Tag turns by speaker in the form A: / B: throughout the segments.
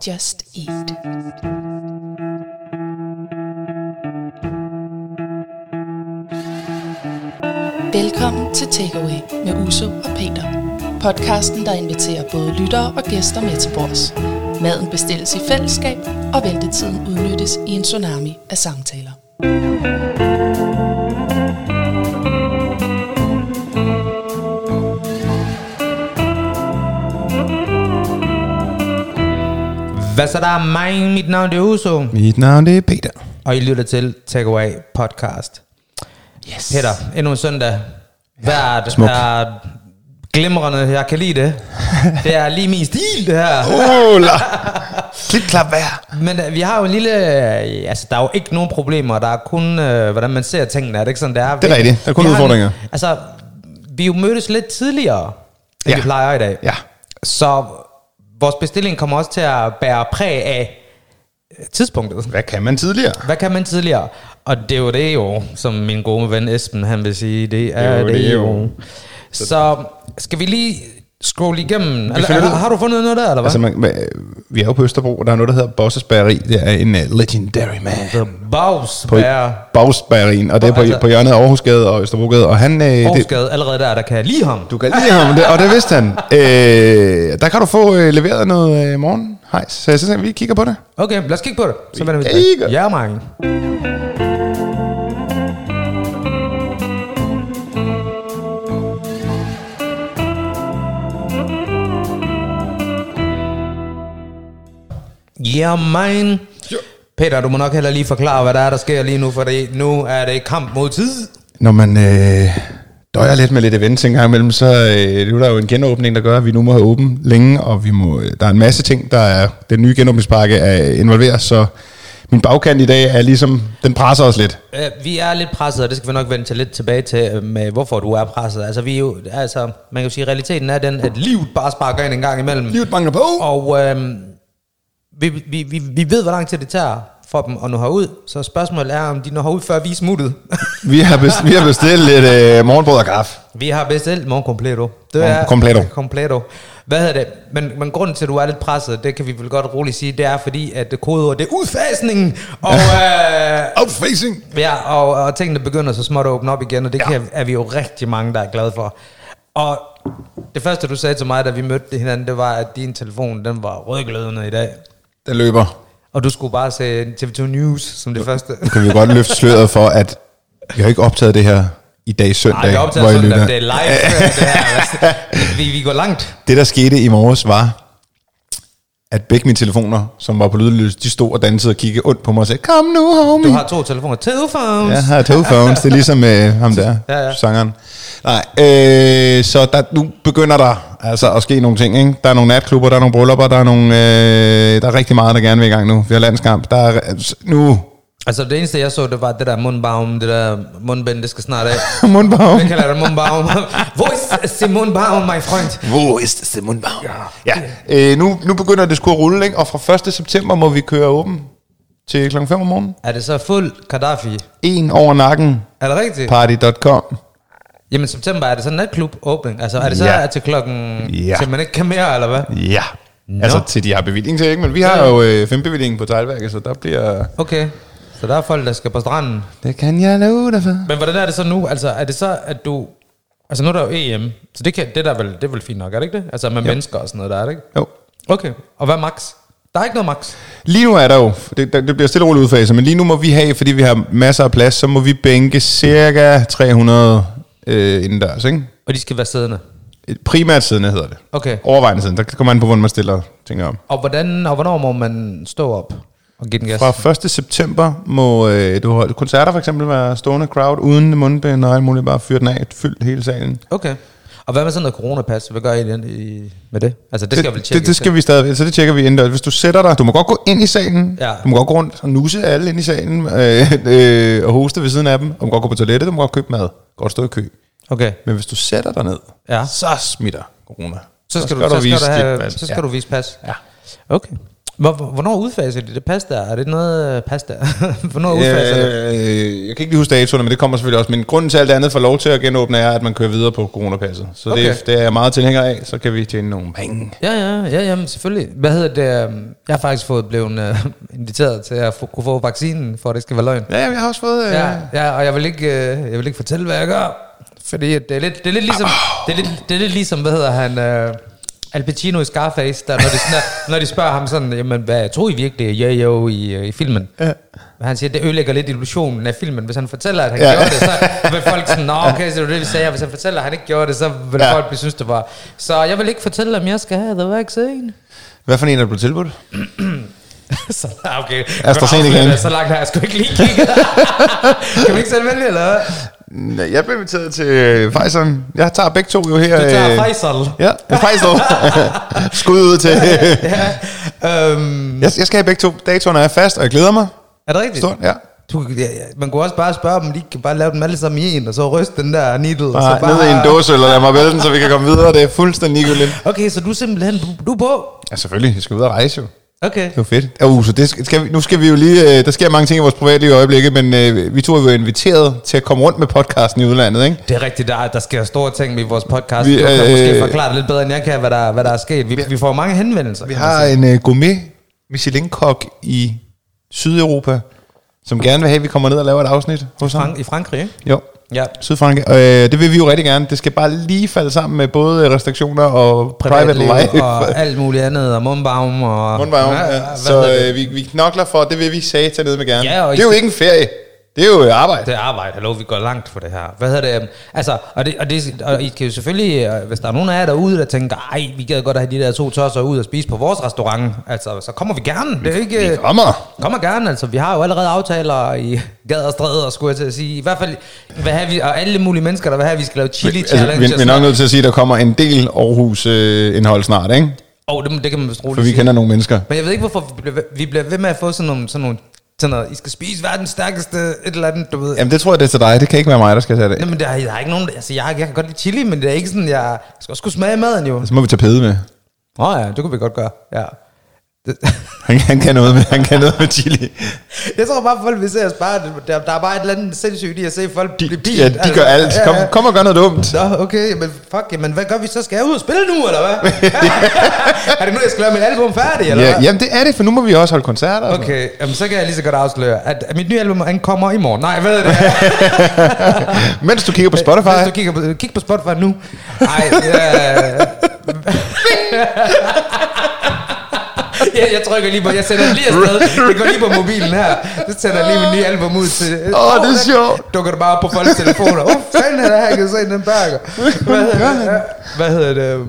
A: Just Eat. Velkommen til Takeaway med Uso og Peter. Podcasten, der inviterer både lyttere og gæster med til bords. Maden bestilles i fællesskab, og ventetiden udnyttes i en tsunami af samtaler.
B: Hvad så der er mig? Mit navn det er Uso,
C: Mit navn det er Peter.
B: og I lytter til Takeaway Podcast.
C: Yes.
B: Peter, endnu en søndag. Hvert
C: smukt.
B: er glimrende, jeg kan lide det. Det er lige min stil, det her.
C: Ola. Klip, klap, vær.
B: Men øh, vi har jo en lille... øh, Altså, der er jo ikke nogen problemer. Der er kun, øh, hvordan man ser tingene. Er det ikke sådan, det er?
C: Det er rigtigt. Der er kun
B: Vi har en-
C: udfordringer.
B: Altså, vi er jo mødtes lidt tidligere, end ja.
C: Ja.
B: vi plejer i dag.
C: Ja.
B: Så vores bestilling kommer også til at bære præg af øh, tidspunktet.
C: Hvad kan man tidligere?
B: Hvad kan man tidligere? Og det er jo det jo, som min gode ven Esben, han vil sige, det er det,
C: jo
B: er det
C: det
B: jo.
C: jo.
B: Så skal vi lige scrolle igennem? Eller,
C: finder
B: har,
C: ud-
B: har du fundet noget der, eller hvad?
C: Altså, man, man, vi er jo på Østerbro, og der er noget, der hedder Bosses Bageri. Det er en uh, legendary man.
B: The Baus
C: På
B: er
C: Bosses Bagerien, og det er på,
B: Altså-
C: altså, på hjørnet af Aarhusgade og Østerbrogade. Og han, uh, det,
B: Aarhusgade allerede der, der kan jeg lide ham.
C: du kan lide ham, det, og det vidste han. Øh, der kan du få øh, leveret noget øh, morgen, hejs. Så jeg synes, at vi kigger på det.
B: Okay, lad os kigge på det. Så vender vi
C: Vi
B: tilbage.
C: kigger.
B: Ja, mange. Ja, man. Peter, du må nok heller lige forklare, hvad der er, der sker lige nu, for nu er det kamp mod tid.
C: Når man øh, døjer lidt med lidt events en gang imellem, så øh, nu er der jo en genåbning, der gør, at vi nu må have åben længe, og vi må, øh, der er en masse ting, der er, den nye genåbningspakke er involveret, så min bagkant i dag er ligesom, den presser os lidt.
B: Øh, Vi er lidt presset, og det skal vi nok vende til lidt tilbage til, øh, med hvorfor du er presset. Altså, vi er jo, altså, man kan jo sige, at realiteten er den, at livet bare sparker ind en gang imellem.
C: Livet mangler på.
B: Og øhm, vi, vi, vi, vi ved, hvor lang tid det tager for dem at nå herud. Så spørgsmålet er, om de når herud, før vi er smuttet.
C: Vi har, best, vi har bestilt lidt øh, morgenbrød og kaffe.
B: vi har bestilt morgen completo. Det
C: Morgen completo.
B: completo. Hvad hedder det? Men, men grunden til, at du er lidt presset, det kan vi vel godt roligt sige, det er fordi, at det kodeord, det er udfasningen. Og, øh,
C: Outfacing.
B: ja, og, og tingene begynder så småt at åbne op igen, og det ja. kan, er vi jo rigtig mange, der er glade for. Og det første, du sagde til mig, da vi mødte hinanden, det var, at din telefon, den var rødglødende i dag.
C: Den løber.
B: Og du skulle bare se TV2 News som det første.
C: Nu kan vi jo godt løfte sløret for, at vi har ikke optaget det her i dag søndag,
B: Nej, vi optager
C: hvor I
B: sådan,
C: lytter.
B: at det er live. det her. vi, vi går langt.
C: Det, der skete i morges, var, at begge mine telefoner, som var på lydløs, de stod og dansede og kiggede ondt på mig og sagde, kom nu, homie.
B: Du har to telefoner. Telephones.
C: Jeg
B: Ja.
C: har to phones, det er ligesom øh, ham der,
B: Ja,
C: ja,
B: ja.
C: ja. sangeren. Nej, øh, så der, nu begynder der altså at ske nogle ting. Ikke? Der er nogle natklubber, der er nogle bryllupper, der er, nogle, øh, der er rigtig meget, der gerne vil i gang nu. Vi har landskamp. Der er, øh, s- nu,
B: Altså det eneste, jeg så, det var det der mundbaum, det der mundbind, det skal snart af.
C: mundbaum.
B: Hvad kalder det mundbaum? Hvor er Simon Baum, my friend?
C: Hvor er Simon Baum? Ja, ja. Øh, nu, nu begynder det sgu at rulle, ikke? og fra 1. september må vi køre åben til klokken 5 om morgenen.
B: Er det så fuld Gaddafi?
C: En over nakken,
B: Er det rigtigt?
C: party.com.
B: Jamen september, er det så natklub åbning? Altså er det så
C: Ja.
B: til klokken,
C: Ja.
B: til man ikke kan mere, eller hvad?
C: Ja. Altså til de har bevilling til, ikke? Men vi har jo øh, fem bevilling på teglværket, så der bliver...
B: Okay, så der er folk, der skal på stranden.
C: Det kan jeg love dig for.
B: Men hvordan er det så nu? Altså, er det så, at du... Altså, nu er der jo EM, så det, kan, det, der er vel, det er vel fint nok, er det ikke det? Altså, med jo. mennesker og sådan noget, der er det ikke?
C: Jo.
B: Okay, og hvad er max? Der er ikke noget max.
C: Lige nu er der jo, det, der- det bliver stille og roligt udfaset, men lige nu må vi have, fordi vi har masser af plads, så må vi bænke cirka 300 øh, indendørs, ikke?
B: Og de skal være siddende.
C: Primært siddende hedder det.
B: Okay.
C: Overvejende siden, der kommer an på, hvordan man stiller ting op.
B: Og, hvordan, og hvornår må man stå op og give den gas?
C: Fra 1. september må øh, du holde koncerter for eksempel være stående crowd uden mundbind og alt muligt, bare fyre den af, fyldt hele salen.
B: Okay. Og hvad med sådan noget coronapas? Hvad gør I, den, i med det? Altså, det skal jeg vel tjekke.
C: det, det skal vi stadig, så det tjekker vi indendørs. Hvis du sætter dig, du må godt gå ind i salen,
B: Ja.
C: du må godt gå rundt og nusse alle ind i salen øh, øh, og hoste ved siden af dem, du må godt gå på toilettet, du må godt købe mad, godt stå i kø.
B: Okay.
C: Men hvis du sætter dig ned,
B: Ja.
C: så smitter corona.
B: Så skal, du, så skal, du, have, så skal ja. du vise pas.
C: Ja.
B: Okay. Hvor, hvornår udfaser de det pasta? Er det noget øh, pasta? hvornår udfaser det?
C: Øh, jeg kan ikke lige huske datoerne, men det kommer selvfølgelig også. Men grunden til alt det andet for lov til at genåbne er, at man kører videre på coronapasset. Så okay.
B: Okay.
C: det, det er jeg meget tilhænger af, så kan vi tjene nogle penge.
B: Ja, ja, ja, jamen selvfølgelig. Hvad hedder det? øhm, Jeg har faktisk fået blevet øh, inviteret til at få, kunne få vaccinen, for at det skal være løgn.
C: Ja, jamen, jeg har også fået... Øh,
B: Ja, ja og jeg vil ikke, øh, jeg vil ikke fortælle, hvad jeg gør. Fordi at det er lidt, det er lidt ligesom, det er lidt, det er lidt ligesom, hvad hedder han, øh, Al Pacino i Scarface, der, når, de, sådan er- når de spørger ham sådan, jamen hvad tror I virkelig, jo jo i, øh, i filmen? Ja. Han siger, det ødelægger lidt illusionen af filmen, hvis han fortæller, at han
C: Ja.
B: ja. gjorde det, så vil folk sådan, nå okay, så det var det, vi sagde, og hvis han fortæller, at han ikke gjorde det, så vil
C: Ja.
B: ja. folk synes, det var. Så jeg vil ikke fortælle, om jeg skal have the vaccine.
C: Hvad for en er der blevet tilbudt?
B: så okay,
C: AstraZeneca.
B: Afsnittet er så langt har jeg sgu ikke lige kigget. kan vi ikke selv vælge, eller hvad?
C: Nej, Jeg blev inviteret til øh, Pfizer. Jeg tager begge to jo her.
B: Du tager
C: øh,
B: Faisal.
C: Ja, en Faisal. Skud ud til.
B: Ja. Øhm,
C: jeg, jeg skal have begge to. Datoerne er fast, og jeg glæder mig.
B: er det rigtigt?
C: Stort, ja.
B: Du, ja, ja. Man kunne også bare spørge dem, de kan bare lave dem alle sammen i en, og så ryste den der needle. og
C: Bare
B: så bare...
C: ned i en dåse, eller lad mig vælge den, så vi kan komme videre. Det er fuldstændig ligegyldigt.
B: Okay, så du er simpelthen, du, du er på.
C: Ja, selvfølgelig. Jeg skal ud og rejse jo.
B: Okay.
C: Det er jo fedt. Ja, uh, så det skal, skal vi, nu skal vi jo lige... Øh, der sker mange ting i vores privatliv i øjeblikket, men øh, vi to er jo inviteret til at komme rundt med podcasten i udlandet, ikke?
B: Det er rigtigt, der, der sker store ting med vores podcast.
C: Vi,
B: Vi, du kan
C: øh,
B: måske forklare det lidt bedre, end jeg kan, hvad der, hvad der er sket. Vi, vi får mange henvendelser.
C: Vi har en øh, gourmet Michelin-kok i Sydeuropa, som gerne vil have, at vi kommer ned og laver et afsnit hos ham.
B: Frank, i Frankrig, ikke?
C: Jo,
B: Ja.
C: Sydfrankrig. Og, øh, det vil vi jo rigtig gerne. Det skal bare lige falde sammen med både øh, restriktioner og private,
B: Privatliv
C: private life.
B: og alt muligt andet, og mundbaum og...
C: Mundvarme,
B: Ja,
C: ja,
B: hvad
C: Så
B: hedder det?
C: øh, vi, vi knokler for, det vil vi sige til ned med gerne.
B: Ja, og
C: det er jo ikke en ferie. Det er jo øh, arbejde.
B: Altså, Det er arbejde, hallo, vi går langt for det her. Hvad hedder det? Altså, og, det, og, det, og I kan jo selvfølgelig, øh, hvis der er nogen af jer derude, der tænker, ej, vi gad godt have de der to tosser ud og spise på vores restaurant, altså, så kommer vi gerne. Det er ikke, øh,
C: Vi kommer.
B: Kommer gerne, altså. Vi har jo allerede aftaler i gader og stræder, skulle jeg til at sige. I hvert fald, hvad har vi, og alle mulige mennesker, der vil have, at vi skal lave chili
C: Altså,
B: challenge.
C: vi, vi er nok nødt til at sige, at der kommer en del Aarhus-indhold snart, ikke?
B: oh, det, det, kan man vist roligt
C: For vi
B: sige.
C: kender nogle mennesker.
B: Men jeg ved ikke, hvorfor vi bliver, vi bliver ved med at få sådan nogle, sådan nogle sådan noget, I skal spise verdens stærkeste, et eller andet, du ved.
C: Jamen, det tror jeg, det er til dig. Det kan ikke være mig, der skal tage det.
B: Nej, men der, er- der er ikke nogen... Altså, jeg, jeg kan godt lide chili, men det er ikke sådan, jeg skal også kunne smage maden jo.
C: Så Altså, må vi tage pede med.
B: Nå oh, ja, det kunne vi godt gøre, ja. Det-
C: Han, han kan noget med, han kan noget med chili.
B: Jeg tror bare, folk vil se os bare... Der, der er bare et eller andet sindssygt i at se folk
C: De,
B: blive pint.
C: ja, de gør alt. Kom, kom og gør noget dumt.
B: Nå, okay, men fuck, jamen, hvad gør vi så? Skal jeg ud og spille nu, eller hvad? er det nu, jeg skal lave mit album færdig, eller
C: Ja,
B: hvad?
C: jamen, det er det, for nu må vi også holde koncerter. og sådan
B: Okay, jamen, så kan jeg lige så godt afsløre, at at mit nye album ankommer i morgen. Nej, hvad er det?
C: noget. Mens du kigger på Spotify.
B: Hvis du kigger på, kig på Spotify nu. Ej, ja. jeg, jeg trykker lige på, jeg sender den lige afsted. Det går lige på mobilen her. Så sender jeg lige min nye album ud til...
C: Åh, oh, det er
B: der
C: sjovt.
B: Dukker det bare op på folks telefoner. Åh, oh, fanden er der her, jeg kan se den burger. Hvad hedder det? Hvad hedder det?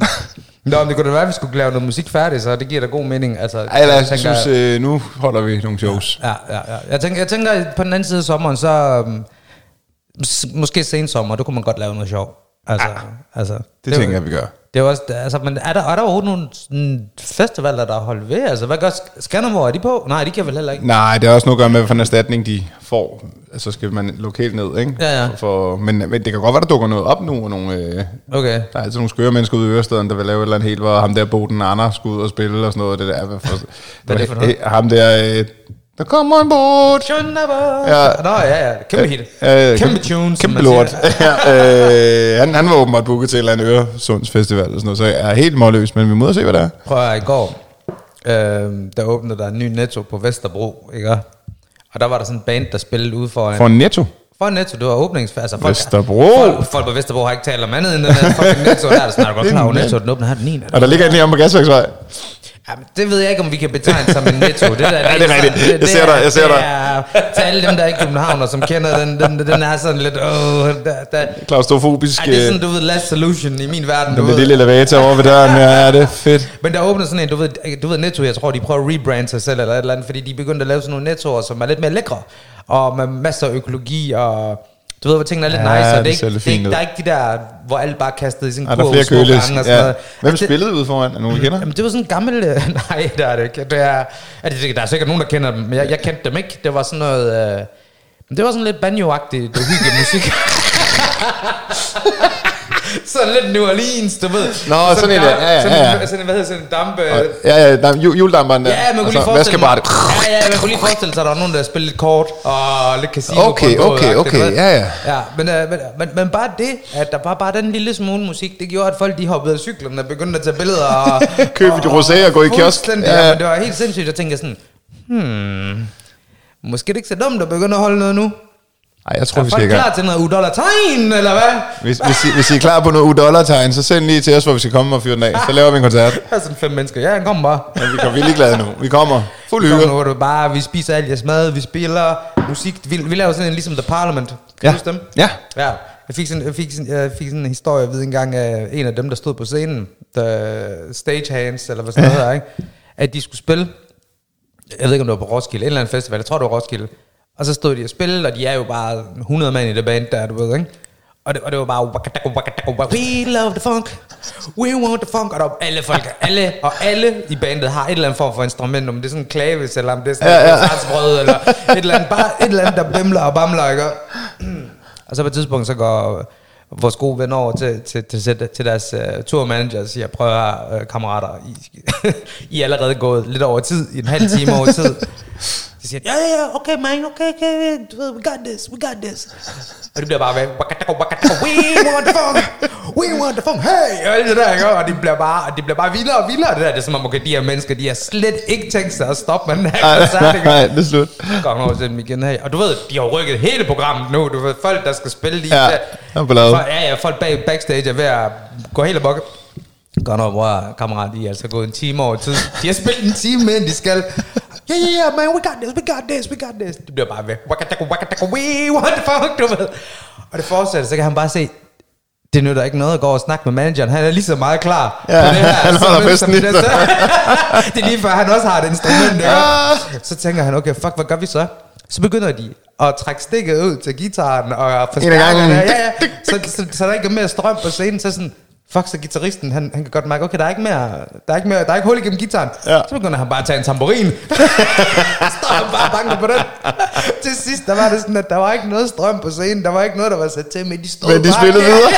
B: Nå, men det kunne da være, at vi skulle lave noget musik færdigt, så det giver da god mening. Altså,
C: Ej, lad os,
B: tænker
C: jeg synes, øh, nu holder vi nogle jokes.
B: Ja, ja, ja. Jeg tænker, jeg tænker at på den anden side af sommeren, så um, måske sen sommer, der kunne man godt lave noget sjov. Altså, ja, altså, det,
C: Det tænker jeg, vi gør.
B: Det er jo også, altså, men er der, er der overhovedet nogle sådan, festivaler, der er holdt ved? Altså, hvad gør Sk- Skanderborg? Er de på? Nej, de kan vel heller ikke.
C: Nej, det har også noget at gøre med, hvad for en erstatning de får. Altså skal man lukke helt ned, ikke?
B: Ja, ja.
C: For, for, men, men det kan godt være, der dukker noget op nu. Og nogle, øh,
B: Okay.
C: der er altid nogle skøre mennesker ude i Ørestaden, der vil lave et eller andet helt, hvor ham der Boden Anders skulle ud og spille og sådan noget. Det der, hvad for,
B: Hvad er det for noget?
C: Øh, Ham der, øh, der kommer en båd.
B: Skanderborg!
C: Ja.
B: Ja. Nå, ja, ja. Kæmpe hit.
C: Øh,
B: kæmpe tunes. som
C: Kæmpe
B: man siger.
C: lort. ja, øh, han, han var åbenbart booket til et eller andet Øresundsfestival og sådan noget, så jeg er helt målløs, men vi må ud og se, hvad der er.
B: Prøv at høre, i går, øh, der åbnede der en ny netto på Vesterbro, ikke? Og der var der sådan en band, der spillede ude foran.
C: For Netto.
B: For Netto, det var åbningsfærd. Altså, folk,
C: Vesterbro.
B: Folk, folk, på Vesterbro har ikke talt om andet end den der fucking Netto. Der er det sådan, er du godt klar over
C: Det er
B: Netto, den åbner her den 9.
C: Og der ligger en lige om på Gasværksvej.
B: Jamen, det ved jeg ikke, om vi kan betegne som en Netto. Det der,
C: Ja, det er rigtigt.
B: sådan-
C: Jeg ser dig, jeg ser
B: det
C: dig.
B: er- Til alle dem, der er i København, og som kender den, den, den er sådan lidt... Åh, der, der.
C: Klaustrofobisk.
B: Ej, det er
C: øh,
B: sådan, du ved, last solution i min verden. Du
C: Den der
B: ved.
C: lille elevator over ved døren, ja, ja, det er fedt.
B: Men der åbner sådan en, du ved, øh, du ved Netto, jeg tror, de prøver at rebrande sig selv eller et eller andet, fordi de er begyndt at lave sådan nogle Nettoer, som er lidt mere lækre, og med masser af økologi, og du ved, hvor tingene er lidt
C: Ja,
B: nice, og
C: det
B: det er,
C: ser
B: ikke,
C: lidt
B: det er
C: fint
B: ikke,
C: ud.
B: der er ikke de der, hvor alt bare er kastet i sin
C: Ej,
B: kurv
C: der er flere
B: store
C: køles.
B: gange og sådan
C: Ja.
B: noget. Altså,
C: Hvem
B: Det-
C: spillede ude foran? Er nogen, vi kender?
B: Jamen, det var sådan en gammel... øh, Nej, der er det ikke. Det er, er det, der er sikkert nogen, der kender dem, men jeg, jeg kendte dem ikke. Det var sådan noget... Øh, men det var sådan lidt banjo-agtigt, det hyggelige musik. sådan lidt New Orleans, du ved.
C: Nå, sådan en der.
B: damp-
C: Ja, ja,
B: sådan,
C: ja, ja.
B: Sådan, en- hvad hedder sådan en damp... øh,
C: Ja, ja, der, ju- juledamperen der.
B: Ja, man kunne
C: Og så
B: lige forestille
C: vaskebart.
B: mig- Ja, ja, man kunne lige forestille sig, at der var nogen, der spillede lidt kort og lidt casino.
C: Okay, okay, okay, ja, ja.
B: ja men, øh, men, men, men, bare det, at der var bare den lille smule musik, det gjorde, at folk de hoppede af cyklerne og begyndte at tage billeder. Og,
C: Købe et rosé og gå i kiosk.
B: Fuldstændig,
C: Ja.
B: ja. men det var helt sindssygt. Jeg tænkte sådan, hmm, måske er det ikke så dumt at begynde at holde noget nu.
C: Ej, jeg tror,
B: Er
C: vi skal
B: folk
C: i gang.
B: klar til noget udolder tegn, eller hvad?
C: Hvis, hvis, I, hvis I er klar på noget U-dollar-tegn, så send lige til os, hvor vi skal komme og fyre den af. Så laver vi en koncert.
B: Der er sådan fem mennesker. Ja, han kommer bare.
C: Men vi, kommer, vi er ligeglade nu. Vi kommer. Fuld
B: Vi
C: hygge.
B: kommer over, det er bare, vi spiser alt jeres mad, vi spiller musik. Vi, vi laver sådan en ligesom The Parliament. Kan
C: Ja.
B: du huske dem?
C: Ja.
B: Ja, jeg fik sådan, jeg fik sådan, jeg fik sådan en historie, jeg ved engang, af en af dem, der stod på scenen, the stagehands, eller hvad sådan noget her, ikke? at de skulle spille, jeg ved ikke, om det var på Roskilde, en eller anden festival, jeg tror, det var Roskilde, og så stod de og spillede, og de er jo bare 100 mand i det band der, du ved, ikke? Og det, og det var bare, wakadako, wakadako, wak- we love the funk, we want the funk, og der var alle folk, alle, og alle i bandet har et eller andet form for instrument, om det er sådan en klavis, eller om det er sådan
C: Ja,
B: ja,
C: ja.
B: ja. et eller et eller andet, bare et eller andet, der bimler og bamler, ikke? Og- og så på et tidspunkt, så går vores gode ven over til, til, til, til deres uh, turmanager og siger, prøv at høre, øh, kammerater, I, I er allerede gået lidt over tid, i en halv time over tid. Så siger de, ja, ja, ja, okay, man, okay, okay, du ved, we got this, we got this. Og det bliver bare ved, wakatako, wakatako, we want the funk, we want the funk, hey, og alt det der, ikke? Og det bliver bare, det bliver bare vildere og vildere, det der. Det er som om, okay, de her mennesker, de har slet ikke tænkt sig at stoppe med den her
C: Nej,
B: koncert,
C: nej,
B: ikke?
C: nej, det er slut.
B: går han over til dem igen her. Og du ved, de har rykket hele programmet nu. Du ved, folk, der skal spille lige
C: Ja,
B: der.
C: der er ballade.
B: Folk- Ja, ja, folk bag, backstage er ved at gå helt amok. Går han over, bror, kammerat, de er altså gået en time over tid. De har spillet en time mere, end de skal. Ja, yeah, yeah, man, we got this, we got this, we got this. Det bliver bare ved. Wakatako, wakatako, we, what the fuck, du ved. Og det fortsætter, så kan han bare se, det nytter ikke noget at gå og snakke med manageren. Han er lige så meget klar.
C: Ja,
B: på det her,
C: han holder
B: som- som
C: festen i
B: det-
C: sig.
B: det er lige før, han også har et instrument. Ja.
C: Ah.
B: Så tænker han, okay, fuck, hvad gør vi så? Så begynder de at trække stikket ud til gitaren og forstærkerne.
C: gangen.
B: Ja, ja. Så, så, så, der ikke er mere strøm på scenen, så sådan, fuck, så gitarristen, han, han kan godt mærke, okay, der er ikke mere, der er ikke mere, der er ikke hul igennem gitaren.
C: Ja.
B: Så begynder han bare at tage en tamburin. Står han bare og banker på den. til sidst, der var det sådan, at der var ikke noget strøm på scenen, der var ikke noget, der var sat til, men de stod
C: Men de
B: bare-
C: spillede
B: Ja.
C: videre.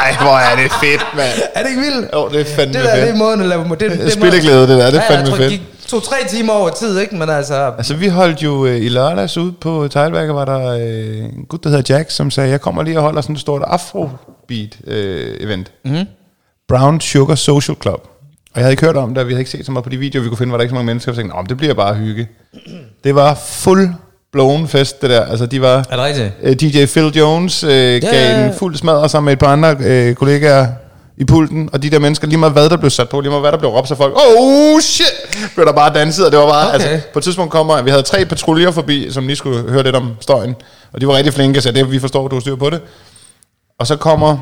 C: Ej, hvor er det fedt, mand.
B: Er det ikke vildt?
C: Jo, det er fandme
B: det der,
C: fedt.
B: Det er måden at lave... Det, det er måden-
C: Spilleglæde, det der, det er fandme
B: jeg tror, det
C: fedt.
B: gik to-tre timer over tid, ikke? Men altså...
C: Altså, vi holdt jo øh, i lørdags ude på Teglværket, var der øh, en gut, der hedder Jack, som sagde, jeg kommer lige og holder sådan et stort afrobeat-event. mm-hmm. Brown Sugar Social Club. Og jeg havde ikke hørt om det, og vi havde ikke set så meget på de videoer, vi kunne finde, var der ikke så mange mennesker, og tænkte, "Nå, men det bliver bare hygge. Det var fuld blown fest, det der. Altså, de var...
B: Er det rigtigt?
C: Øh, DJ Phil Jones øh, ja, gav
B: ja, ja.
C: en fuld smadre sammen med et par andre øh, kollegaer i pulten, og de der mennesker, lige meget hvad der blev sat på, lige meget hvad der blev råbt, så folk, oh shit, blev der bare danset, og det var bare,
B: Okay.
C: altså, på et tidspunkt kommer, vi havde tre patruljer forbi, som lige skulle høre lidt om støjen, og de var rigtig flinke, så det, vi forstår, du har styr på det. Og så kommer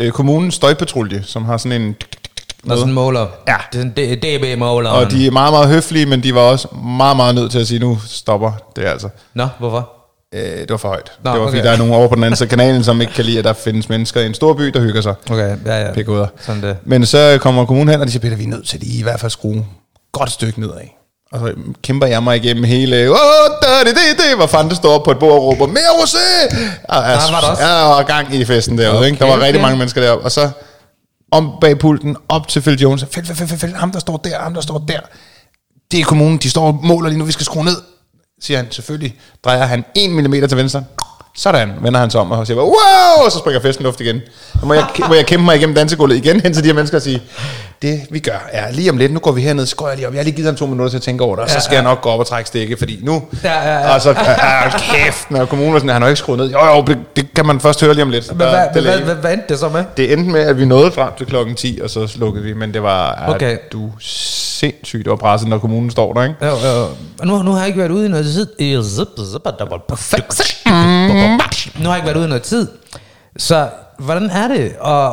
C: øh, kommunens støjpatrulje, som har sådan en
B: Når sådan en måler.
C: Ja.
B: Det er sådan en DB-måler.
C: og de er meget, meget høflige, men de var også meget, meget nødt til at sige, nu stopper det altså.
B: Nå, hvorfor?
C: Øh, det var for højt.
B: Nå,
C: Nå, det var okay. fordi,
B: okay.
C: der er nogen over på den anden side af kanalen, som ikke kan lide, at der findes mennesker i en stor by, der hygger sig.
B: Okay, ja, ja.
C: Pikuder.
B: Sådan det.
C: Men så kommer kommunen hen, og de siger, Peter, vi er nødt til lige i hvert fald at skrue godt stykke nedad. Og så kæmper jeg mig igennem hele, åh, da, det, det, det, hvor fanden det står op på et bord og råber, mere rosé! Og,
B: Der var der også.
C: Ja, og gang i festen derude, okay, ikke? Der var
B: Okay,
C: rigtig
B: okay.
C: mange mennesker deroppe. Og så om bag pulten, op til Phil Jones, Phil, Phil, Phil, Phil, Phil, ham der står der, ham der står der. Det er kommunen, de står og måler lige nu, vi skal skrue ned, siger han selvfølgelig. Drejer han 1 mm til venstre. Sådan vender han sig om og siger, bare, wow, og så springer festen i luft igen. Så må jeg, må jeg kæmpe mig igennem dansegulvet igen hen til de her mennesker og sige, det vi gør er lige om lidt, nu går vi herned, så går jeg lige op. Jeg har lige givet ham to minutter til at tænke over det, og så skal jeg nok gå op og trække stikke, fordi nu...
B: Ja, ja, ja.
C: Og så, ah, kæft, når kommunen var sådan, han har ikke skruet ned. Jo, jo, det, det kan man først høre lige om lidt.
B: Men
C: Der-
B: hvad,
C: det er
B: hvad,
C: længe.
B: hvad, hvad endte det så med?
C: Det endte med, at vi nåede frem til klokken 10, og så slukkede vi, men det var,
B: Okay.
C: okay. du sindssygt og presset, når kommunen står der, ikke?
B: Jo, jo. Og nu, nu har jeg ikke været ude i noget tid. I zip, zip, double perfect.
C: Mm.
B: Nu har jeg ikke været ude i noget tid. Så hvordan er det at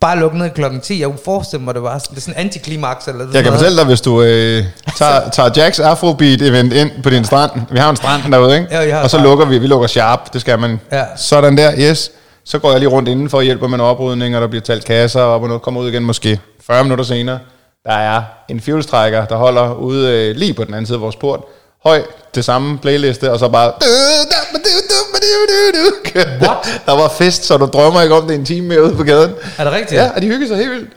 B: bare lukke ned klokken 10? Jeg kunne forestille mig, det var sådan, det er sådan en antiklimaks. Eller sådan
C: Jeg kan
B: noget.
C: fortælle dig, hvis du øh, tager, tager Jacks Afrobeat-event ind på din strand. Vi har en strand derude, ikke?
B: Ja, I har en
C: og så
B: strand.
C: lukker vi. Vi lukker sharp, det skal man.
B: Ja.
C: Sådan der, yes. Så går jeg lige rundt indenfor og hjælper med noget oprydning, og der bliver talt kasser op og noget. Kommer ud igen måske 40 minutter senere. Der er en fjolstrækker, der holder ude øh, lige på den anden side af vores port. høj, det samme playliste, og så bare...
B: What?
C: Der var fest, så du drømmer ikke om det en time mere ude på gaden.
B: Er det rigtigt?
C: Ja, og de hyggede sig helt vildt.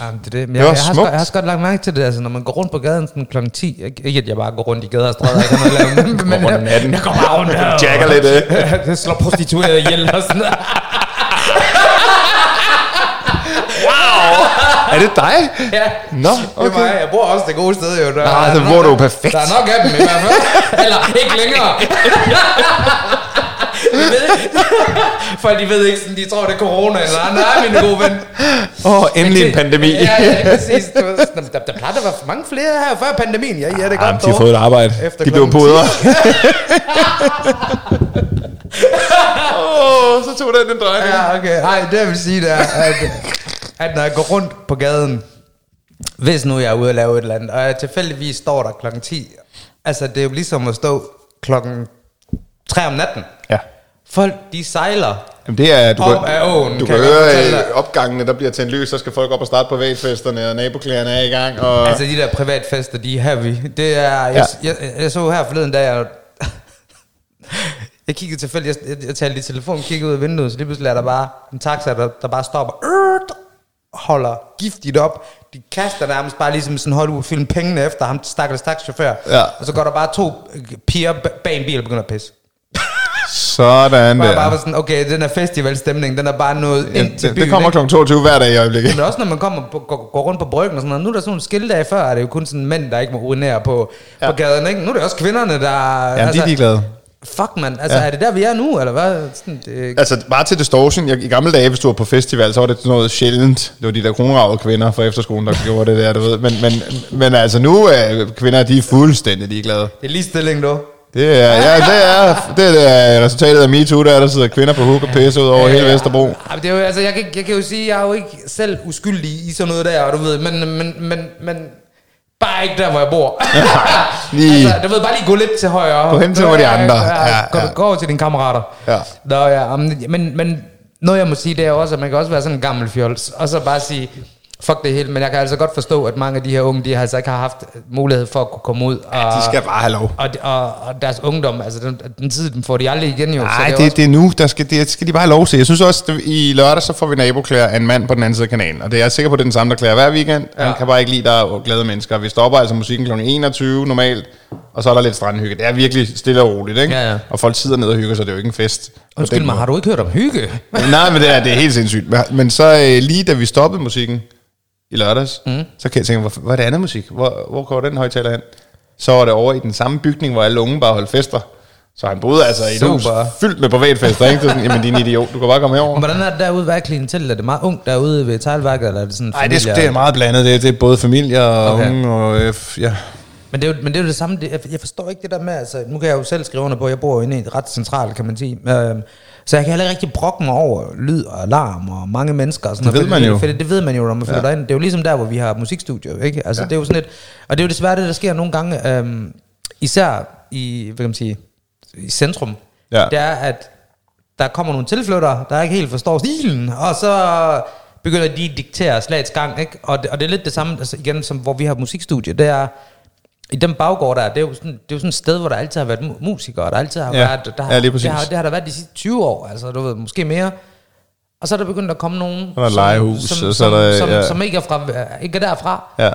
B: Jamen, det er det. Men
C: Det
B: jeg,
C: var
B: jeg, har
C: smukt.
B: sgu- jeg har godt lagt mærke til det, altså, når man går rundt på gaden sådan kl. 10. Ikke ikke, at jeg bare går rundt i gader og stræder, ikke har noget at lave, men
C: rundt om natten.
B: jeg går bare rundt her. og-
C: Jacker lidt, øh.
B: Jeg slår prostitueret ihjel og sådan noget.
C: Er det dig?
B: Ja.
C: Nå,
B: Okay.
C: okay.
B: Mig. Jeg bor også det gode sted, jo. Der,
C: Ah,
B: der
C: så
B: er
C: bor
B: nok-
C: du perfekt.
B: Der er nok af dem i hvert fald. Eller ikke længere. Jeg ved ikke. Folk de ved ikke, sådan, de tror, det er corona eller andet. Nej, min gode ven.
C: Åh, oh, endelig en
B: Det-
C: pandemi.
B: Ja, ja, præcis. Du ved, sådan, Der, der plejede at være for mange flere her før pandemien. Ja, ja, det er
C: Jamen,
B: godt
C: de har
B: dog.
C: fået et arbejde.
B: Efter
C: de blev
B: klokken
C: pudret. Åh, oh, så tog den en drejning.
B: Ja, okay. Nej, det jeg vil sige, det er, at, at når jeg går rundt på gaden, hvis nu jeg er ude og lave et eller andet, og jeg tilfældigvis står der klokken 10, altså det er jo ligesom at stå klokken 3 om natten.
C: Ja.
B: Folk, de sejler.
C: Jamen, det er, du
B: Op
C: kan,
B: ad åen,
C: du
B: kan
C: kan,
B: jeg godt fortælle
C: høre
B: dig.
C: øh, opgangene, der bliver tændt lys, så skal folk op og starte privatfesterne, og naboklæderne er i gang. Og...
B: Altså de der privatfester, de er heavy. Det er, jeg,
C: Ja.
B: ja. jeg, jeg, jeg så her forleden, da jeg... Jeg kiggede tilfældigt, jeg, jeg, jeg talte i telefon, kiggede ud af vinduet, så lige pludselig er der bare en taxa, der, der bare stopper, øh, holder giftigt op. De kaster nærmest bare ligesom sådan Hollywood-film pengene efter ham, stakkels taxachauffør.
C: Ja.
B: Og så går der bare to øh, piger b- bag en bil og begynder at pisse.
C: Sådan
B: Bare, bare var
C: der.
B: sådan, okay, den her festivalstemning, den er bare noget
C: Ja,
B: ind til
C: det,
B: byen.
C: det kommer
B: ikke?
C: kl. 22 hver dag i øjeblikket.
B: Men også når man kommer på, går, går rundt på bryggen og sådan noget. Nu er der sådan nogle skilte af før, er det jo kun sådan mænd, der ikke må urinere på, ja.
C: Ja.
B: på gaden. Ikke? Nu er det også kvinderne, der...
C: Jamen, altså, de er ligeglade.
B: Fuck, mand. Altså, ja.
C: Ja.
B: er det der, vi er nu, eller hvad? Sådan, det,
C: Altså, bare til distortion. Jeg, I gamle dage, hvis du var på festival, så var det sådan noget sjældent. Det var de der kronravede kvinder fra efterskolen, der gjorde det der, du ved. Men, men, men altså, nu er kvinder, de er fuldstændig ligeglade.
B: det er lige stilling, du.
C: Det er, ja, det er, det er resultatet af MeToo, der er, der sidder kvinder på huk og pisse ud over hele Vesterbro.
B: Ja, men det er jo, altså, jeg, kan, ikke- jeg kan jo sige, jeg er jo ikke selv uskyldig i sådan noget der, og du ved, men, men, men, men bare ikke der, hvor jeg bor.
C: lige-
B: altså, du ved, bare lige gå lidt til højre.
C: Gå hen til, hvor de andre.
B: Ja, ja,
C: Ja,
B: gå,
C: ja.
B: gå over til dine kammerater.
C: Ja.
B: Nå, ja, men, men, men noget, jeg må sige, det er jo også, at man kan også være sådan en gammel fjols, og så bare sige, fuck det hele, men jeg kan altså godt forstå, at mange af de her unge, de har altså ikke har haft mulighed for at kunne komme ud. Og,
C: De skal bare have lov.
B: og, og, og deres ungdom, altså den, den tid, den får de aldrig igen jo.
C: Nej,
B: er
C: det, det er nu. Der skal, det skal de bare have lov til. Jeg synes også, det, i lørdag, så får vi naboklæder af en mand på den anden side af kanalen. Og det er jeg sikker på, det er den samme, der klæder hver weekend. Ja.
B: Ja.
C: Han kan bare ikke lide, der er glade mennesker. Vi stopper altså musikken kl. 21 normalt, og så er der lidt strandhygge. Det er virkelig stille og roligt, ikke?
B: Ja, ja.
C: Og folk sidder ned og hygger, så det er jo ikke en fest. på
B: Undskyld
C: den
B: mig,
C: måde.
B: har du ikke hørt om hygge?
C: Nej, men det er, det er helt sindssygt. Men- Men så øh, lige da vi stoppede musikken i lørdags, mm. så kan jeg tænke, hvor, hvor er det andet musik? Hvor, hvor går den højtaler hen? Så var det over i den samme bygning, hvor alle unge bare holdt fester. Så han boede altså i et hus
B: Super.
C: fyldt med privatfester, ikke? Det er Sådan, Jamen, din idiot, du kan bare komme herover.
B: Hvordan er det derude? Hvad er klientellet? Er det meget ungt derude ved teglværket, eller er det sådan
C: Nej, det, er sgu-
B: familier?
C: det er meget blandet. Det er, det er både familier og
B: Okay.
C: okay. unge. Og, øh, f- ja.
B: Men det er jo, men det, er jo det samme. Det, jeg- jeg forstår ikke det der med, altså, nu kan jeg jo selv skrive under på, jeg bor jo inde i et ret centralt, kan man sige. Øhm, så jeg kan heller ikke rigtig brokke mig over lyd og alarm og mange mennesker. Og sådan
C: Det
B: noget,
C: ved man jo.
B: fordi Det, det ved man jo, når man flytter ja. ind. Det er jo ligesom der, hvor vi har musikstudio, ikke? Altså, ja. det er jo sådan et, og det er jo desværre det, der sker nogle gange, øhm, især i, hvad kan man sige, i centrum.
C: Ja.
B: Det er, at der kommer nogle tilflyttere, der ikke helt forstår stilen, og så begynder de at diktere slagets gang, ikke? Og det, og det er lidt det samme, altså igen, som hvor vi har musikstudie, det er, i den baggård der, er, det er jo sådan, det er jo sådan et sted, hvor der altid har været mu- musikere, og der altid har
C: Ja,
B: været, der har,
C: ja, lige præcis.
B: det, har, det har der været de sidste 20 år, altså du ved, måske mere. Og så er der begyndt at komme nogen,
C: er der legehus,
B: som,
C: og så
B: som,
C: er der-
B: som,
C: ja.
B: som ikke, er fra, ikke er derfra,
C: ja.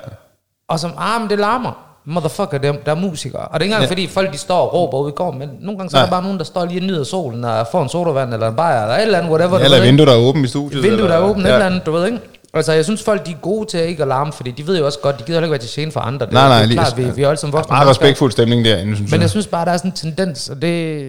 B: og som, ah, men det larmer. Motherfucker, der, der er musikere. Og det er ikke engang, ja.
C: Ja.
B: fordi folk de står og råber ude i går, men nogle gange så er
C: Nej.
B: der bare nogen, der står lige og nyder solen og får en sodavand eller en bajer eller et eller andet, whatever.
C: Eller
B: du ved,
C: vinduet, der er åbent i studiet.
B: ikke? Vinduet der er åbent, ja. et
C: ja.
B: eller andet, du ved ikke. Altså, jeg synes, folk de er gode til ikke at larme, fordi de ved jo også godt, de gider heller ikke være til gene for andre. Det,
C: Nej, nej,
B: det er
C: lige-
B: klart, vi, vi er alle som voksne.
C: Meget
B: mennesker.
C: respektfuld stemning derinde, synes
B: Men jeg
C: jeg.
B: synes bare, der er sådan en tendens, og det,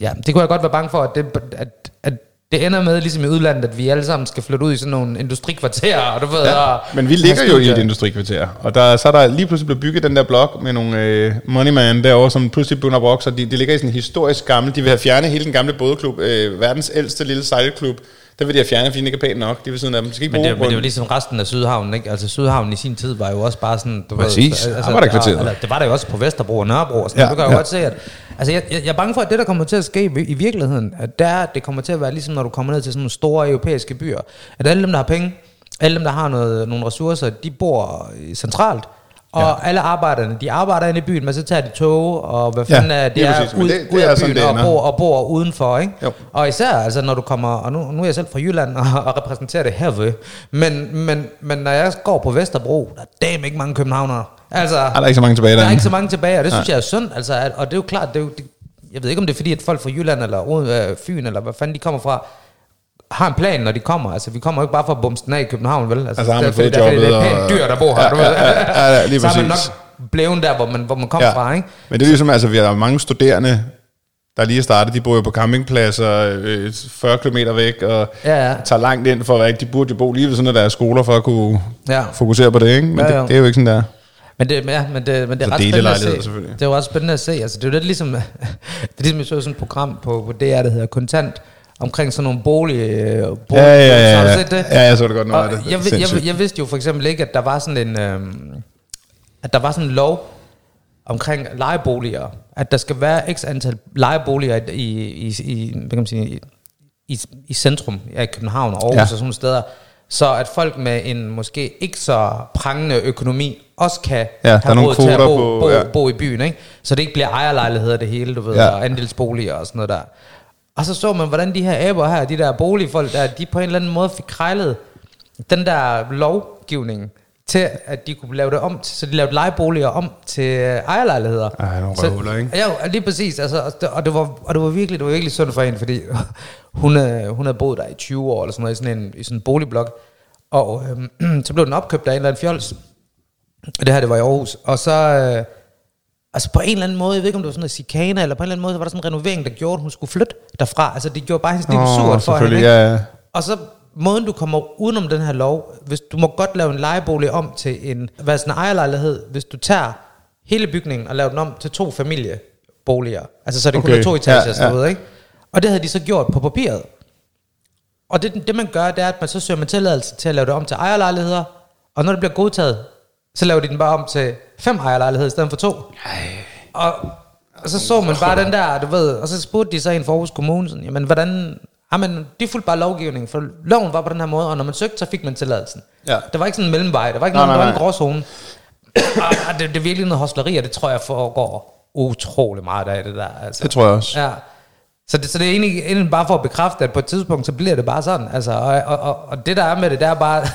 B: ja, det kunne jeg godt være bange for, at det, at, at det ender med, ligesom i udlandet, at vi alle sammen skal flytte ud i sådan nogle industrikvarterer, og du ved, og,
C: Men vi ligger jo i et industrikvarter, og der, så er der lige pludselig blevet bygget den der blok med nogle øh, moneyman derovre, som pludselig begynder at vokse, og de, de ligger i sådan en historisk gammel, de vil have fjernet hele den gamle bådeklub, øh, verdens ældste lille sejlklub, der vil de have fjernet, fordi den ikke er pæn nok, det ved siden af dem. De Skal ikke
B: Men det, er jo-
C: bruge
B: men det er jo
C: grunden.
B: ligesom resten af Sydhavnen, ikke? Altså Sydhavnen i sin tid var jo også bare sådan... Du
C: Præcis.
B: Ved,
C: Arbejderkvarteret.
B: eller, det var der jo også på Vesterbro og Nørrebro. Og sådan. Ja,
C: Ja,
B: du kan jo ja.
C: ja.
B: godt se, at... Altså jeg, jeg, jeg er bange for, at det, der kommer til at ske i, i virkeligheden, at der, det kommer til at være ligesom, når du kommer ned til sådan nogle store europæiske byer, at alle dem, der har penge, alle dem, der har noget, nogle ressourcer, de bor øh, centralt, Og ja. alle arbejderne, de arbejder inde i byen, men så tager de tog, og hvad
C: Ja,
B: fanden ja, er det?
C: lige
B: er
C: præcis. Men
B: ud,
C: det- det
B: ud
C: er
B: af
C: sådan,
B: byen
C: det
B: og
C: ender.
B: bor, og bor udenfor, ikke?
C: Jo.
B: Og især, altså, når du kommer, og nu, nu er jeg selv fra Jylland og, og repræsenterer det herved, men, men, men når jeg går på Vesterbro, der er damn ikke mange københavnere. Altså,
C: der er ikke så mange tilbage
B: der er
C: derinde.
B: ikke så mange tilbage, og det synes jeg er synd. Altså, at, og det er jo klart, det er jo, det, jeg ved ikke, om det er fordi, at folk fra Jylland eller Rode- øh, Fyn, eller hvad fanden de kommer fra, har en plan, når de kommer. Altså, vi kommer jo ikke bare for at bumse den af i København, vel?
C: Altså, har man
B: det, er- det, er-
C: fodjobbet
B: det er pænt
C: og-
B: dyrt at bo her,
C: Ja,
B: du ved.
C: ja, ja, ja, ja, lige
B: Så er man
C: præcis.
B: nok blevet der, hvor man, hvor man kommer fra, ligesom ikke?
C: Men det er ligesom, altså, vi har mange studerende, der lige er startet, de bor jo på campingpladser øh, 40 km væk, og
B: Ja, ja.
C: tager langt ind for at være, ikke- de burde jo bo lige ved sådan af deres skoler, for at kunne
B: Ja.
C: ja. fokusere på det, ikke? Men
B: Ja,
C: ja,
B: ja.
C: det, det, er jo ikke sådan der.
B: Men det, ja, men det, men det er ret spændende
C: Så
B: at se.
C: delelejligheder, selvfølgelig.
B: Det er jo ret spændende at se. Altså, det er jo lidt ligesom, det er ligesom, jeg så sådan et program på, på DR, der hedder Kontant, omkring sådan nogle bolig... øh, bolig
C: Ja, ja, ja,
B: Så har
C: ja.
B: du set det?
C: Ja, jeg så det godt, nu
B: Og
C: er det
B: jeg, vid- jeg,
C: sindssygt.
B: jeg, vidste jo for eksempel ikke, at der var sådan en... Øhm, at der var sådan en lov omkring lejeboliger, at der skal være x antal lejeboliger i, i, i, i hvad kan man sige, i- i, i centrum af København og Aarhus ja.
C: Ja.
B: og sådan nogle steder, så at folk med en måske ikke så prangende økonomi også kan
C: der er nogle
B: til at
C: kvoter
B: bo,
C: på-
B: bo,
C: ja.
B: bo i byen, ikke? så det ikke bliver ejerlejligheder det hele, du ved, ja.
C: Ja.
B: og andelsboliger og sådan noget der. Og så så man, hvordan de her aber her, de der boligfolk, der, de på en eller anden måde fik krejlet den der lovgivning til, at de kunne lave det om, til, så de lavede lejeboliger om til ejerlejligheder.
C: Ej, nogle
B: Så-
C: røvhuller, ikke?
B: Ja, jo, lige præcis. Altså, og, det, og, det var, og det var virkelig, det var virkelig synd for hende, fordi hun, øh, hun havde boet der i 20 år, eller sådan noget, i sådan en, i sådan en boligblok. Og øhm, så blev den opkøbt af en eller anden fjols. Det her, det var i Aarhus. Og så, øh, altså på en eller anden måde, jeg ved ikke, om det var sådan noget chikane, eller på en eller anden måde, så var der sådan en renovering, der gjorde, at hun skulle flytte derfra. Altså, det gjorde bare hendes liv
C: Åh,
B: surt for hende.
C: selvfølgelig,
B: ikke?
C: ja, ja.
B: Og så måden, du kommer udenom den her lov, hvis du må godt lave en lejebolig om til en, hvad sådan en ejerlejlighed, hvis du tager hele bygningen og laver den om til to familieboliger. Altså så det okay. kun
C: Okay,
B: er to etager,
C: ja,
B: ja, ja.
C: ja.
B: Ved, ikke? Og det havde de så gjort på papiret. Og det, det man gør, det er, at man så søger man tilladelse til at lave det om til ejerlejligheder, og når det bliver godtaget, så laver de den bare om til fem ejerlejligheder i stedet for to. Og, og så så man bare den der, du ved, og så spurgte de så en for Aarhus Kommune, sådan, jamen hvordan, jamen de fulgte bare lovgivningen, for loven var på den her måde, og når man søgte, så fik man tilladelsen.
C: Ja.
B: Der var ikke sådan en mellemvej, der var ikke
C: Nej,
B: nogen, der
C: nej,
B: var en
C: nej.
B: gråzone. og, og det, det er virkelig noget hostleri, og det tror jeg foregår utrolig meget af det der. Altså.
C: Det tror jeg også.
B: Ja. Så det, så det er egentlig, egentlig bare for at bekræfte, at på et tidspunkt, så bliver det bare sådan. Altså, og, og, og, og det der er med det, det er bare...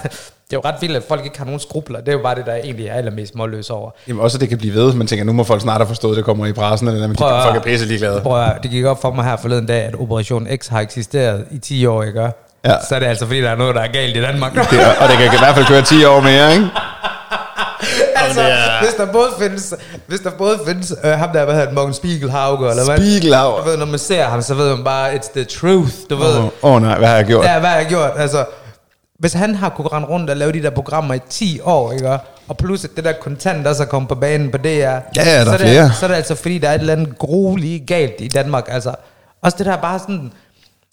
B: Det er jo ret vildt, at folk ikke har nogen skrubler. Det er jo bare det, der egentlig er allermest målløs over.
C: Jamen også, at det kan blive ved. Man tænker, nu må folk snart have forstået, at det kommer i pressen, eller man
B: at
C: kigger,
B: høre.
C: folk er pisse ligeglade.
B: Prøv at, høre, det gik op for mig her forleden dag, at Operation X har eksisteret i 10 år, ikke? Ja.
C: Ja.
B: Så er det altså, fordi der er noget, der er galt i Danmark.
C: Det, er- og det kan i hvert fald køre 10 år mere, ikke?
B: altså,
C: det er-
B: hvis der både findes, hvis der både findes øh, ham der, hvad hedder han, Morten Spiegelhauger, eller hvad? Du
C: Spiegelauer.
B: ved, når man ser ham, så ved man bare, it's the truth, du ved.
C: Åh oh, nej, hvad har jeg gjort?
B: Ja, hvad har jeg gjort? Altså, hvis han har kunnet rende rundt og lave de der programmer i 10 år, ikke? og plus at det der kontant også er kommet på banen på DR, ja,
C: der er
B: så, er det,
C: flere.
B: så er det altså fordi, der er et eller andet grueligt galt i Danmark. Altså, også det der bare sådan...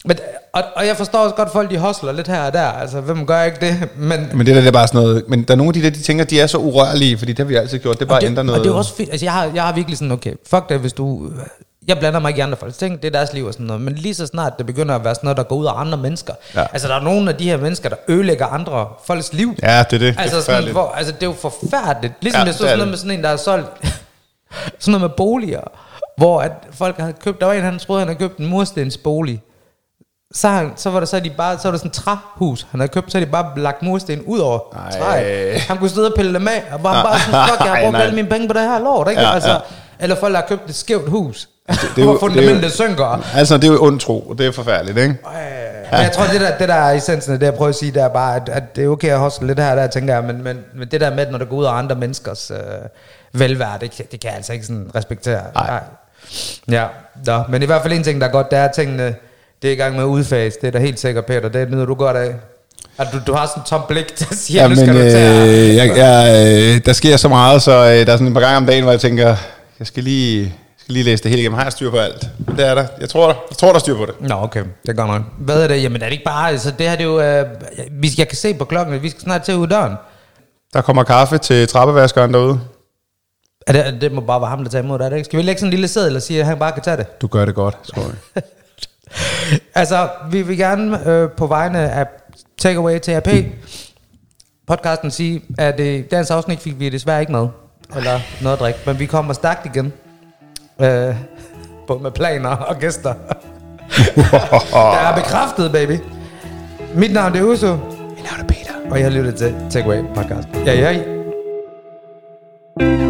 B: Men, og, og jeg forstår også godt, folk de hostler lidt her og der. Altså, hvem gør ikke det? Men,
C: Men det der, det er bare sådan noget... Men der er nogle af de der, de tænker, de er så urørlige, fordi det har vi altid gjort. Det er bare
B: og
C: at
B: det,
C: ændre noget.
B: Og det er også fint. Altså, jeg har, jeg har virkelig sådan, okay, fuck det, hvis du... Jeg blander mig ikke i andre folks ting, det er deres liv og sådan noget. Men lige så snart det begynder at være sådan noget, der går ud af andre mennesker. Ja.
C: Ja.
B: Altså, der er nogle af de her mennesker, der ødelægger andre folks liv.
C: Ja, det er det.
B: Altså,
C: det er
B: sådan,
C: forfærdeligt.
B: hvor, altså, det er jo forfærdeligt. Ligesom ja,
C: Ja,
B: det stod
C: det er
B: sådan noget
C: det.
B: med sådan en, der har solgt sådan noget med boliger, hvor at folk havde købt, der var en, han troede, han havde købt en murstensbolig. Så, han, så var der så de bare, så var der sådan et træhus, han havde købt, så havde de bare lagt mursten ud over
C: Ej.
B: træet. Han kunne sidde og pille dem af, og bare, bare sådan,
C: Nej.
B: fuck, jeg har brugt
C: Nej.
B: alle mine penge på det her lort, ikke? Ja,
C: Ja,
B: altså,
C: ja.
B: Eller folk, der har købt et skævt hus,
C: det er jo-
B: hvor fundamentet synker.
C: Altså, det er jo ond tro, og det er forfærdeligt, ikke?
B: Men jeg tror, det der, det der er essensen af det, jeg prøver at sige, det er bare, at, at det er okay at hostle lidt her og der, tænker jeg, men, men, men det der med, at når det går ud af andre menneskers øh, velvære, det, kan- det kan jeg altså ikke sådan respektere.
C: Nej.
B: Ja, da. men i hvert fald en ting, der er godt, det er at tingene, det er i gang med at udfase, det er da helt sikkert, Peter, det nyder du godt af. At du, du har sådan en tom blik, der siger, ja, nu skal
C: men,
B: du tage...
C: øh, jeg, jeg, øh, der sker så meget, så øh, der er sådan et par gange om dagen, hvor jeg tænker, jeg skal lige, jeg skal lige læse det hele igennem. Har jeg styr på alt? Men Det er der. Jeg tror, jeg tror der er styr på det.
B: Nå, okay, det gør nok. Hvad er det? Jamen er det ikke bare, altså det her det er jo, øh, vi- jeg kan se på klokken, at vi skal snart til at ud af døren.
C: Der kommer kaffe til trappevaskeren derude.
B: Er det, det må bare være ham, der tager imod dig, er det ikke? Skal vi lægge sådan en lille seddel og sige, at han bare kan tage det?
C: Du gør det godt, tror jeg.
B: Altså, vi vil gerne øh, på vegne af Takeaway TRP podcasten sige, at øh, dagens afsnit fik vi desværre ikke med. eller noget at drikke. Men vi kommer stærkt igen. Øh, både med planer og gæster. Der er bekræftet, baby. Mit navn det er Uso. Mit navn er Peter. Og jeg lytter til Takeaway Podcast. Ja, ja.